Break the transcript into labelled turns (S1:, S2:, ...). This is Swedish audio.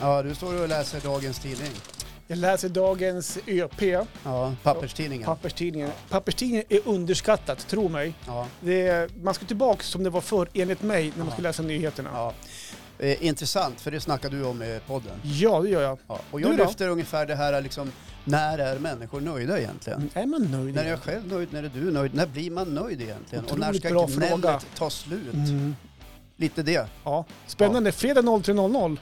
S1: Ja, du står och läser dagens tidning.
S2: Jag läser dagens ÖP,
S1: Ja, papperstidningen.
S2: papperstidningen. Papperstidningen är underskattat, tro mig.
S1: Ja,
S2: Det är, man ska tillbaka som det var förr, enligt mig, när man skulle läsa nyheterna. Ja,
S1: ja. Eh, intressant, för det snackar du om i podden.
S2: det gör jag.
S1: Ja. Och
S2: Du
S1: jag
S2: då?
S1: lyfter ungefär det här liksom, när är människor nöjda egentligen?
S2: Mm, Är man nöjd?
S1: När är jag själv nöjd? När är du nöjd? När blir man nöjd egentligen? och när
S2: Otroligt
S1: ska
S2: bra
S1: gnället
S2: fråga.
S1: ta slut?
S2: Mm.
S1: Lite det.
S2: Ja. Spännande. Fredag 03.00.